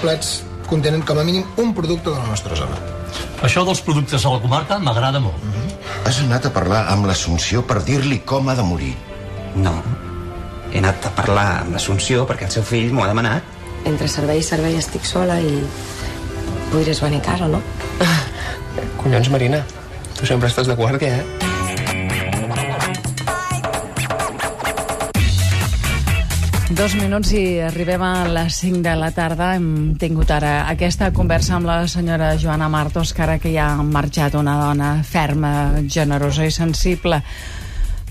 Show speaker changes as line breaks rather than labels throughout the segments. plats contenen com a mínim un producte de la nostra zona.
Això dels productes a la comarca m'agrada molt. Mm -hmm.
Has anat a parlar amb l'Assumpció per dir-li com ha de morir.
No. He anat a parlar amb l'Assumpció perquè el seu fill m'ho ha demanat.
Entre servei i servei estic sola i... Podries venir a casa, no?
Collons, Marina, tu sempre estàs de guàrdia, eh?
Dos minuts i arribem a les 5 de la tarda. Hem tingut ara aquesta conversa amb la senyora Joana Martos, que ara que ja ha marxat una dona ferma, generosa i sensible.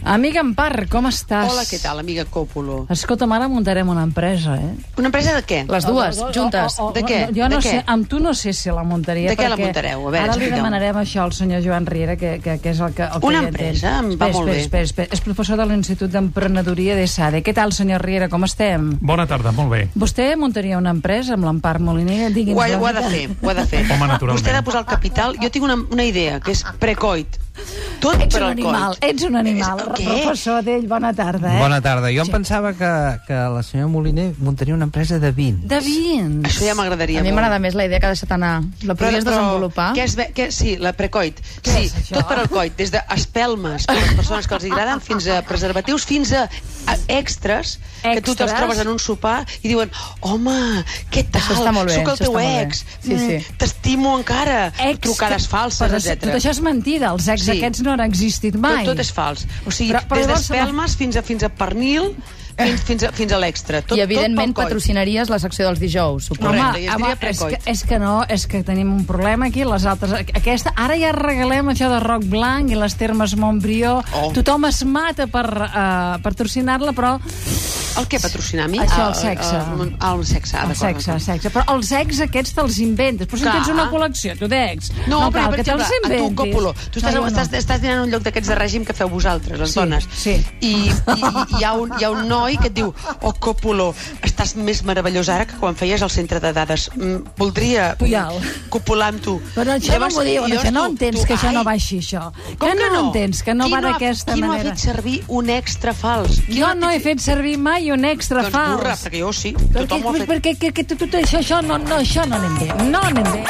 Amiga Empar, com estàs?
Hola, què tal, amiga Còpolo?
Escolta'm, ara muntarem una empresa, eh?
Una empresa de què?
Les dues,
Oh,
juntes.
De què?
Jo no
De què?
sé, amb tu no sé si la muntaria.
De què la
perquè
muntareu? A veure,
ara li
explica'm.
demanarem això al senyor Joan Riera, que, que, que és el que... El que
Una
hi
empresa,
entén.
em va
Espera,
molt
espera,
bé.
Espera, espera, és professor de l'Institut d'Emprenedoria de SADE. Què tal, senyor Riera, com estem?
Bona tarda, molt bé.
Vostè muntaria una empresa amb l'Empar Moliner? Digui'ns
Ho ha,
la
ho ha de fer,
veritat.
ho ha de fer.
Home, naturalment.
Vostè ha de posar el capital. Jo tinc una, una idea, que és precoit. Tot
Ets
per
un
al
animal,
coit.
ets un animal.
És- Eh, què?
Professor d'ell, bona tarda. Eh?
Bona tarda. Jo em pensava que, que la senyora Moliner muntaria una empresa de vins.
De vins.
Això ja m'agradaria
A mi
molt.
m'agrada més la idea que ha deixat anar. La podries desenvolupar?
Què es ve, què, sí, la precoit. sí,
és això?
tot per al coit, des d'espelmes per a les persones que els agraden, fins a preservatius, fins a, a extras, que tu te'ls
Extras?
trobes en un sopar i diuen, home, què tal?
Això està molt bé,
Soc el
això està
teu
molt bé.
ex.
Sí,
Mm,
sí.
T'estimo encara. Trucades falses,
però,
etc.
Tot això és mentida, els ex
Sí.
sí. aquests no han existit mai.
Tot, tot és fals. O sigui,
Però-
però,
però
però des
llavors-
d'espelmes fins, a, fins a pernil, fins, fins, a, fins a l'extra. Tot,
I evidentment
tot pel coll.
patrocinaries la secció dels dijous, suposo.
Correcte,
Home,
i es
home,
diria
és, que,
precoit.
és que no, és que tenim un problema aquí, les altres... Aquesta, ara ja regalem això de Roc Blanc i les termes Montbrió.
Oh.
Tothom es mata per uh, patrocinar-la, però
El que patrocinar a mi?
Això, el
Ah,
sexe.
El, el, el sexe, ah,
el
d'acord,
sexe, el
d'acord.
sexe. Però els ex aquests te'ls inventes. Però si
Clar.
tens una col·lecció, tu d'ex.
No, no però,
cal
per
que
exemple,
te'ls
a
inventis.
tu, Còpolo, tu estàs,
No,
no,
jo no.
estàs, estàs dinant en un lloc d'aquests de règim que feu vosaltres, les
Sí,
dones.
sí.
I, i, i hi, ha un, hi ha un noi que et diu, oh, Còpolo, estàs més meravellós ara que quan feies el centre de dades. Mm, voldria
Pujal.
mm, copular amb tu.
Però això no
Llavors,
m'ho diuen,
llavors
això no
tu-
entens
tu,
que això no
ai,
va així, això.
Com que,
no entens, que no
Qui
va
ha-
d'aquesta
qui no
manera.
ha fet servir un extra fals? Qui
Jo
ha
no he fet servir mai un extra
doncs
fals.
burra, perquè jo sí.
perquè,
Tothom ho ha fet.
perquè que, que, tu, tu, això, això, no, no, això no anem bé. No anem bé.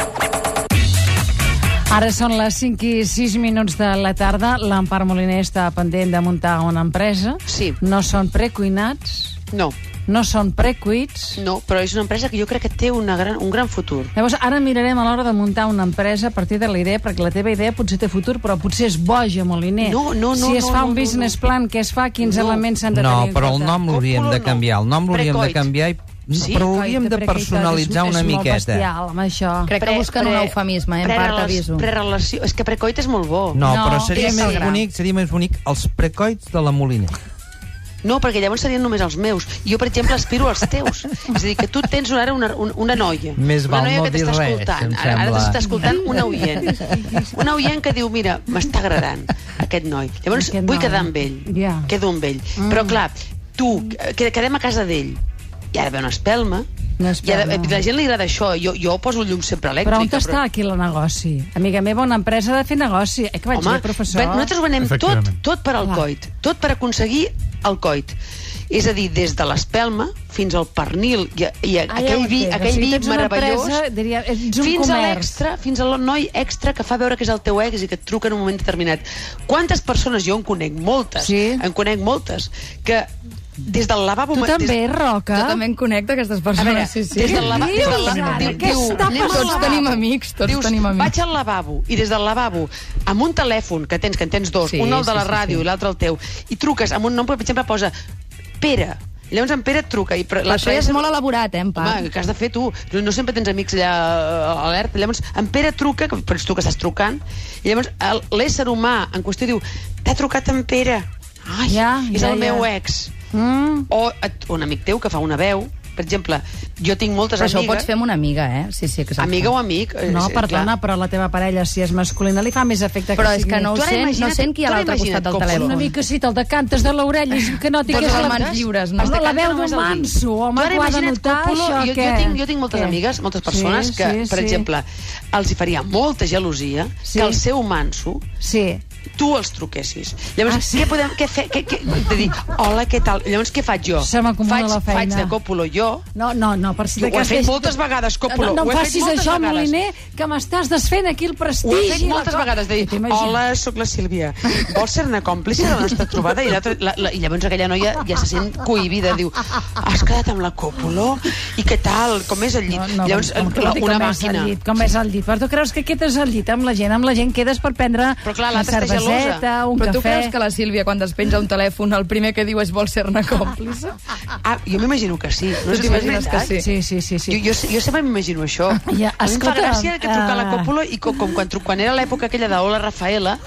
Ara són les 5 i 6 minuts de la tarda. L'Empar Moliner està pendent de muntar una empresa.
Sí.
No són precuinats,
No,
no són precuits.
no, però és una empresa que jo crec que té una gran, un gran futur.
Llavors, ara mirarem a l'hora de muntar una empresa a partir de la idea, perquè la teva idea potser té futur, però potser és boja, Moliner.
No, no, no,
Si es
no,
fa
no,
un
no,
business
no.
plan, què es fa, quins
No.
elements s'han de
No,
tenir en
però el
compte?
nom l'hauríem de
Còpula no.
canviar. El nom l'hauríem de
Precoit.
canviar i
Sí.
però hauríem de
Coita,
personalitzar
precoita,
una
és, És molt
miqueta.
bestial, amb això.
Crec que busquen un eufemisme, eh, en part, aviso.
Prerelació. És que precoit és molt bo.
No,
No,
però seria
és el
més
gra.
bonic, seria més bonic els precoits de la Moliner.
No, perquè llavors serien només els meus. Jo, per exemple, aspiro als teus. És a dir, que tu tens ara una, un- una noia.
Més val
una noia
no
que t'està
dir res,
escoltant.
em
Ara, ara
sembla.
t'està escoltant una oient. Una oient que diu, mira, m'està agradant aquest noi. Llavors,
Aquest
vull
noi.
quedar amb ell.
Ja. Mm.
Quedo amb ell. Però, clar, tu, que, quedem a casa d'ell. I ara ve una espelma.
Una espelma.
I ara, la gent li agrada això. Jo, jo poso el llum sempre elèctrica.
Però on està aquí el negoci? Amiga meva, una empresa ha de fer negoci. Eh, que vaig dir, professor?
ven- nosaltres ho venem tot,
Efectivament.
tot per al
Clar.
coit, tot per aconseguir el coit. És a dir, des de l'espelma fins al pernil i, a- i a-
Ah, ja ho
aquell vi,
entenc.
aquell
Si
vi
tens una
meravellós,
empresa, diria, ets un
fins a
comerç.
l'extra, fins al noi extra que fa veure que és el teu ex i que et truca en un moment determinat. Quantes persones, jo en conec moltes,
Sí.
en conec moltes, que des del lavabo...
Tu
ma-
també,
des,
Roca?
Jo també en connecto, aquestes persones.
veure,
sí, sí.
des del lavabo...
Què
Des del
dius,
lavabo
ara? Què està
anem al
passant?
Tots tenim amics, tots
Dius,
tenim amics.
Vaig al lavabo, i des del lavabo, amb un telèfon que tens, que en tens dos,
Sí,
un el
sí,
de la
sí,
ràdio
sí.
i l'altre el teu, i truques amb un nom, per exemple, posa Pere. I Llavors en Pere et truca. I pre-
Però això ja és
Pere-
molt elaborat, eh, en part.
Home, que has de fer tu. No, no sempre tens amics allà eh, alerta. Llavors, en Pere truca, que però ets tu que estàs trucant, i llavors el- l'ésser humà en qüestió diu t'ha trucat en Pere. Ai,
Ja,
és
ja,
el
ja.
meu ex.
Mm.
O et, un amic teu que fa una veu. Per exemple, jo tinc moltes
Però això ho
amigues...
pots fer amb una amiga, eh? Sí, sí, exacte.
Amiga o amic... eh,
No,
sí,
perdona,
clar.
però la teva parella, si és masculina, li fa més efecte
Però
que
és que no ho
Tu ara
sent, no
imagina't-
sent qui hi ha a
tu ara
l'altre costat
imagina't
del
com són
telèfon. Doncs
Una mica sí, te'l decantes de l'orella i que noti
Tots
Doncs
que és
els
la...
mans lliures, no?
La veu de
el dit.
manso, home,
Tu ara
que ho ha de
imagina't,
notar,
Còpolo,
això,
jo,
què?
Jo tinc, jo tinc moltes
Què?
amigues, moltes persones
Sí,
que,
sí,
per
sí.
exemple, els hi faria molta gelosia
Sí.
que el seu manso
Sí.
tu els truquessis. Llavors, ah, sí? què podem... Què fer, què, què, de dir, hola, què tal? Llavors, què faig jo?
Se m'acumula
Faig-
la feina.
Faig de Còpolo jo.
No, no, no, per si
Jo ho he
cas
fet
deix-
moltes vegades, Còpolo,
No, no
ho
em
he fet
facis
moltes
això,
vegades.
Moliner, que m'estàs desfent aquí el prestigi.
Ho he fet
i la
moltes
cosa.
vegades, de dir,
T'imagines?
hola, sóc la Sílvia, vols ser-ne còmplice de la nostra trobada? I, l'altra- la, la, I llavors aquella noia ja se sent cohibida, diu, has quedat amb la Còpolo? I què tal? Com és el llit?
No, no,
llavors,
com, com,
la,
com,
una
com és el
màquina.
llit, com és el llit. Però tu creus que quedes al llit amb la gent, amb la gent quedes per prendre
Però clar,
una
l'altra està
cerveseta,
gelosa.
un
Però
cafè...
tu creus que la Sílvia, quan despenja un telèfon, el primer que diu és vol ser-ne còmplice?
Ah, jo m'imagino que sí. No
Tu
sé si és
t'imagines
veritat.
que
Sí, sí, sí. sí.
Jo, jo, jo sempre m'imagino això.
Ja,
a mi em fa
escolta,
gràcia que trucar a la
eh,
Còpolo i com, com quan, tru- quan era l'època aquella de Hola Rafaela,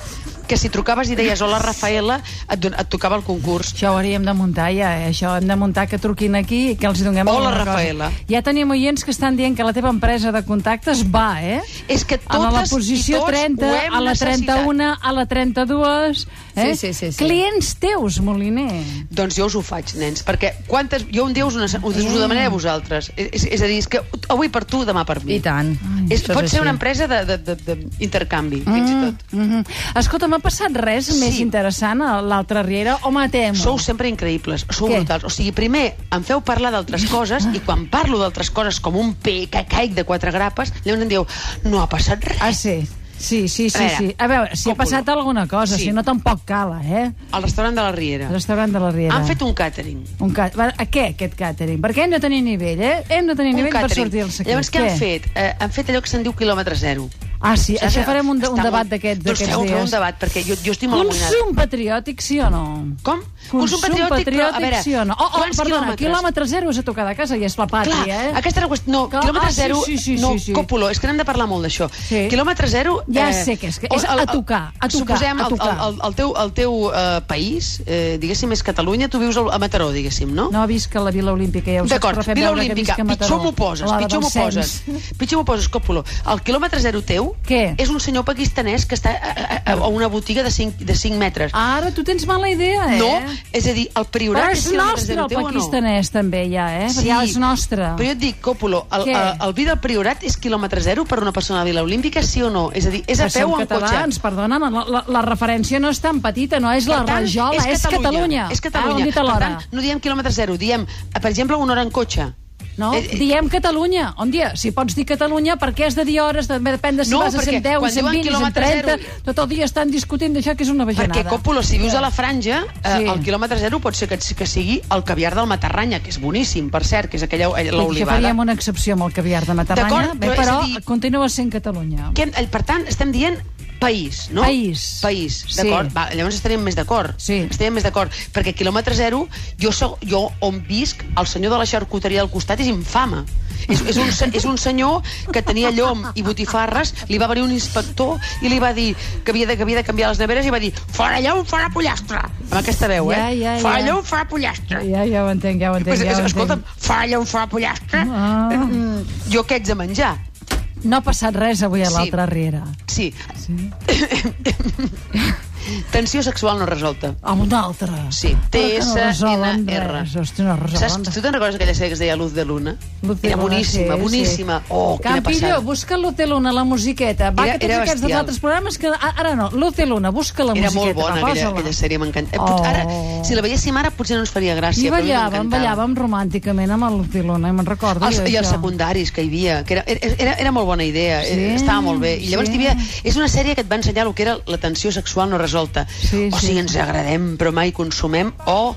que si trucaves i deies Hola Rafaela et, don, et tocava el concurs.
Això ho hauríem de muntar ja, eh? això hem de muntar que truquin aquí i que els hi donem
Hola,
alguna cosa.
Rafaela.
Ja tenim oients que estan dient que la teva empresa de contactes va, eh?
És que totes
a la posició
i tots
30,
ho hem
a la
necessitat.
31, a la 32...
Sí,
Eh?
sí, sí, sí.
Clients teus, Moliner.
Doncs jo us ho faig, nens, perquè quantes... Jo un dia us, una, us, us ho demanaré a vosaltres. És, és a dir, és que avui per tu, demà per mi.
I tant.
Mm. És,
Això és
pot ser
així.
una empresa d'intercanvi, fins i tot.
Mm -hmm. Escolta, m'ha passat res
Sí.
més interessant a l'altra riera? O matem
Sou sempre increïbles, sou
Què?
Què? brutals. O sigui, primer em feu parlar d'altres coses i quan parlo d'altres coses com un pe que caic de quatre grapes, llavors em dieu, no ha passat res.
Ah, sí. Sí, sí, sí.
A veure,
sí. A veure si ha
Còpula.
passat alguna cosa,
Sí.
si no tampoc cala, eh?
Al restaurant de la Riera.
El restaurant de la Riera.
Han fet un càtering.
Un ca... va, A què, aquest càtering? Perquè hem de tenir nivell, eh? Hem de tenir
Un
nivell per
càtering.
sortir-se aquí.
Llavors, què, han fet? Eh, han fet allò que se'n diu quilòmetre zero.
Ah, sí,
Saps?
això farem un, de- un
Està
debat
molt-
d'aquest-
Doncs
d'aquests
feu,
dies.
feu un debat, perquè jo, jo estic molt amoïnada.
Consum patriòtic, sí o no?
Com?
Consum, patriòtic, però, a veure,
veure,
sí o no? Oh, oh,
quants
perdona,
quilòmetres?
quilòmetre zero és a tocar de casa i és la pàtria,
Clar,
eh?
aquesta era la qüestió... No,
Clar,
quilòmetre
ah, sí,
zero...
sí, sí,
no,
sí, sí.
Còpolo, és que n'hem de parlar molt d'això.
Sí.
Quilòmetre zero... eh,
Ja sé que és- que és
el-
a tocar, a tocar,
Suposem,
a
el-
tocar.
El, el, el, teu, el teu eh, país, eh, diguéssim, és Catalunya, tu vius al- a Mataró, diguéssim, no?
No ha vist que la Vila Olímpica ja ho saps
D'acord,
perfectament,
Vila
que
Olímpica,
visc a Mataró.
pitjor m'ho poses,
A l'hora
pitjor m'ho
del
poses.
cens.
Pitjor m'ho poses, Còpolo. El quilòmetre zero teu
Què?
és un senyor pakistanès que està a, a, a- a una botiga de 5, de 5 metres.
Ara tu tens mala idea, Ah, eh?
No, és a dir, el
Però
priorat
és
quilòmetre
nostre
zero
el
teu o no?
pakistanès, també, ja, eh? Perquè Ja és nostre.
Però jo et dic, Còpolo, el,
Què?
el, el vi del Priorat és quilòmetre zero per una persona de Vila Olímpica, sí o no? És a dir, és a
Que
peu
som
o en cotxe?
catalans, perdona, la, la, la referència no és tan petita, no és la
Per tant,
rajola, és, Catalunya.
És Catalunya.
Ah, ho hem dit
per
alhora.
tant, no diem quilòmetre zero, diem, eh, per exemple, una hora en cotxe.
No?
Eh, eh,
Diem Catalunya. On dia? Si pots dir Catalunya, per què has de dir hores? De, depèn de si
No,
vas a
perquè
110,
quan diuen
120,
quilòmetre
130...
zero-
Tot el dia estan discutint d'això que és una
Perquè,
bajanada.
Còpolo, si vius a la franja, eh,
Sí.
el quilòmetre zero pot ser que, que sigui el caviar del Matarranya, que és boníssim, per cert, que és aquella eh,
Ja
l'olivada.
faríem una excepció amb el caviar de Matarranya,
D'acord,
bé,
però és
però
a dir-
continua sent Catalunya.
Que, eh, per tant, estem dient país, no?
País.
País,
Sí.
d'acord? Va, llavors estaríem més d'acord.
Sí.
Estaríem més d'acord, perquè quilòmetre zero, jo, so, jo on visc, el senyor de la xarcuteria del costat és infame. És, és, un, se- és un senyor que tenia llom i botifarres, li va venir un inspector i li va dir que havia de, que havia de canviar les neveres i va dir fora llom, fora pollastre. Amb aquesta veu, eh?
Ja, ja,
fora
ja.
llom, fora pollastre.
Ja, ja ho entenc, ja ho entenc.
Pues,
ja ho entenc.
escolta'm, fora llom, fora pollastre.
Ah.
Mm, Jo què haig de menjar?
No ha passat res avui a
Sí.
l'altra riera.
Sí. Tensió sexual no resolta.
Amb una altra.
Sí. T-S-N-R.
T-S-N-R. Hòstia, no resolen
Saps, tu te'n recordes aquella sèrie que es deia Luz de Luna?
Luz de
Era
Luna,
boníssima,
sí,
boníssima.
sí.
Oh, quina
Campillo,
passada.
busca Luz de Luna, la musiqueta. Va,
Era-
que tots
era
aquests dels
bestial.
altres programes que... a- Ara no, Luz de Luna, busca la
Era molt
musiqueta.
bona
va,
aquella,
posa-la.
aquella sèrie, m'encanta. Eh, pot- Ara,
Oh.
si la veiéssim ara potser no ens faria gràcia,
I
però a mi
ballàvem,
m'encantava.
ballàvem romànticament amb el Luz de Luna, eh, me'n recordo.
Els,
jo,
Ah, I els
això.
secundaris que hi havia, que era, era, era molt bona idea,
Sí,
sí, estava molt bé. I llavors
sí.
sí. havia, és una sèrie que et va ensenyar el que era la tensió sexual no resolta.
Sí,
o
sí.
sigui, ens agradem però mai consumem o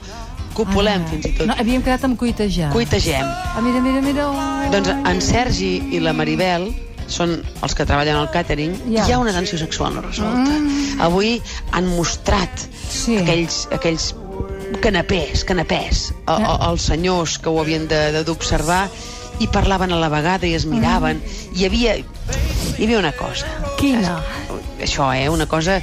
copulem ah, fins i tot.
No, eh,
No,
havíem quedat amb cuitejar.
Cuitegem.
Ah, mira, mira, mira.
Doncs en Sergi i la Maribel són els que treballen al càtering,
Ja. Mm.
ja. hi ha una tensió sexual no resolta. Avui han mostrat
Sí.
aquells, aquells canapés, canapés, a, a, als senyors que ho havien de- de- d'observar i parlaven a la vegada i es miraven. Hi havia, hi havia una cosa.
Mm. Quina?
Això, eh? Una cosa...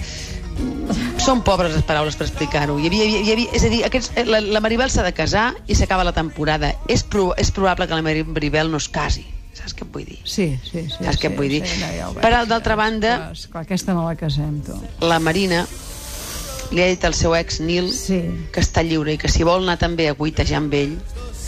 Són pobres les paraules per explicar-ho. Hi havia, hi havia, és a dir, aquests, eh, la, la Maribel s'ha de casar i s'acaba la temporada. És, pro, és probable que la Maribel no es casi. Saps què et vull dir?
Sí, sí, sí.
Saps què
sí,
et vull dir?
Sí, no, ja ho veig.
Per al- d'altra banda,
Clar, esclar, aquesta no la casem, tu.
la Marina li ha dit al seu ex Nil
Sí.
que està lliure i que si vol anar també a cuitejar amb ell,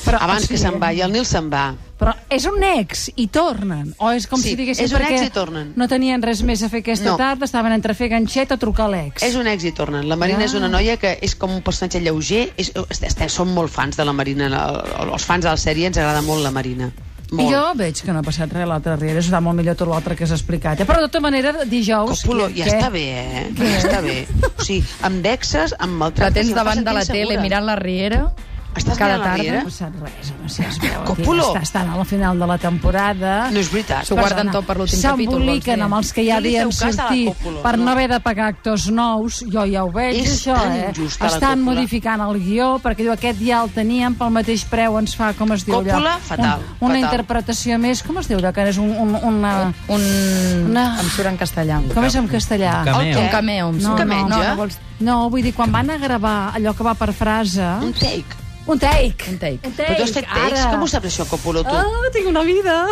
Però,
abans
sí.
que se'n vagi, el Nil se'n va.
Però és un ex i tornen. O és com
Sí,
si diguéssim
és un
perquè
ex i tornen.
no tenien res més a fer aquesta
No.
tarda, estaven entre fer ganxet o trucar a l'ex.
És un èxit, tornen. La Marina
Ah.
ah. és una noia que és com un personatge lleuger. És, est- estem, som molt fans de la Marina. el- el- Els fans de la sèrie ens agrada molt la Marina.
I
Molt.
jo veig que no ha passat res l'altre darrere, està molt millor tot l'altre que s'ha explicat. eh? Però de tota manera, dijous...
Còpolo,
què-
ja
què?
està bé, eh? Ja està bé. O sigui, amb vexes, amb
La
maltractes...
tens
i em fa
davant de la
sentir
tele
insegura.
mirant la riera.
Estàs
cada
mirant la
tarda.
Riera?
No ha passat res, no sé, es veu aquí.
Còpolo!
Està, estan a la final de la temporada.
No és veritat.
S'ho guarden tot per l'últim capítol, vols
S'emboliquen
dir?
amb els que ja
doncs, No li
havien
feu cas a la
sortit
Còpolo,
per
no.
no haver de pagar actors nous. Jo ja ho veig,
És
això,
tan
eh?
injusta la
Estan
Còpolo.
modificant el guió perquè diu aquest ja el teníem pel mateix preu, ens fa, com es diu allò?
Còpula, fatal,
Un, una
fatal.
interpretació més, com es diu, allò, que és un, un, una...
Un...
No.
Em surt en castellà.
Com és en castellà?
Un
què?
cameo.
Un cameo, em
No,
surt.
que
no,
menja?
no, no, vols... no, vull dir, quan van a gravar allò que va per frase...
Un take.
Un take.
Un take.
Un take.
Però tu has fet takes?
Ara.
Com ho saps això, Còpolo, tu?
Ah, tinc una vida.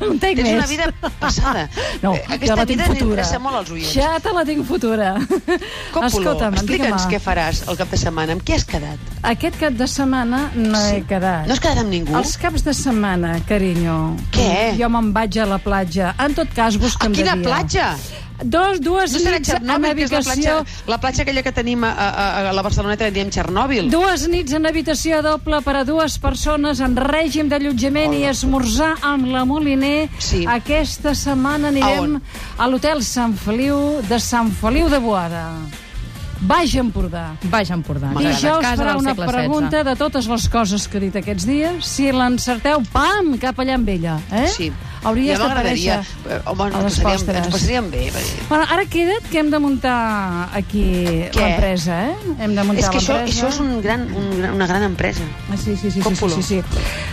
un take
Tens
més.
una vida passada.
No,
Eh,
jo
Aquesta
la tinc
vida
futura.
interessa molt als oients.
Ja te la tinc futura.
Còpolo,
Escolta'm,
explica'ns
digue'm,
què faràs el cap de setmana. Amb qui has quedat?
Aquest cap de setmana no he quedat.
No has quedat amb ningú?
Els caps de setmana, carinyo.
Què?
Jo me'n vaig a la platja. En tot cas,
A
busca'm de
quina
dia.
platja?
Dos, dues
No serà
nits amb
Txernòbil, que és la platja,
habitació...
la platja aquella que tenim a, a, a la Barceloneta, que diem Txernòbil.
Dues nits en habitació doble per a dues persones en règim d'allotjament i esmorzar amb la Moliner.
Sí.
Aquesta setmana anirem
on?
a l'hotel Sant Feliu de Sant Feliu de Boada. Baix Empordà.
Baix a Empordà.
M'agrada.
Dijous
Casa
farà
del
una
segle XVI.
pregunta de totes les coses que he dit aquests dies. Si l'encerteu, pam, cap allà amb ella. Eh?
Sí.
Hauries
Ja m'agradaria.
d'aparèixer
Eh, Home,
a
no,
les
passaríem, ens
postres.
ho passaríem bé. va dir.
Bueno, ara queda't que hem de muntar aquí
Què?
l'empresa, eh? Hem de muntar
És que això,
l'empresa.
això és un gran, un, gran- una gran empresa.
Ah, Sí, sí, sí, sí, sí,
Còpolo.
sí, sí.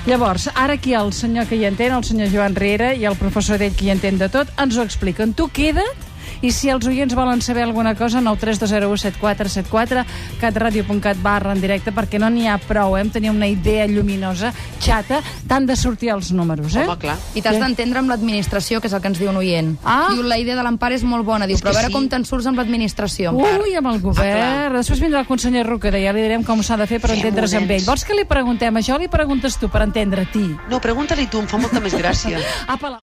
Llavors, ara aquí el senyor que hi entén, el senyor Joan Riera i el professor d'ell que hi entén de tot, ens ho expliquen. Tu queda't i si els oients volen saber alguna cosa, 932017474, catradio.cat barra en directe, perquè no n'hi ha prou, eh? hem tenir una idea lluminosa, xata, t'han de sortir els números, eh?
Home, clar.
I t'has d'entendre amb l'administració, que és el que ens diu un oient.
Ah.
Diu, la idea de l'empara és molt bona. Diu,
És
però
que
a veure
sí.
com te'n surts amb l'administració.
Ui,
Ah,
amb el govern. Després vindrà el conseller Rucada i ja li direm com s'ha de fer per
Fem-ho,
entendre's amb
nens.
ell. Vols que li preguntem això o li preguntes tu per entendre-t'hi?
No, pregunta-li tu, em fa molta més gràcia.
Apa, la...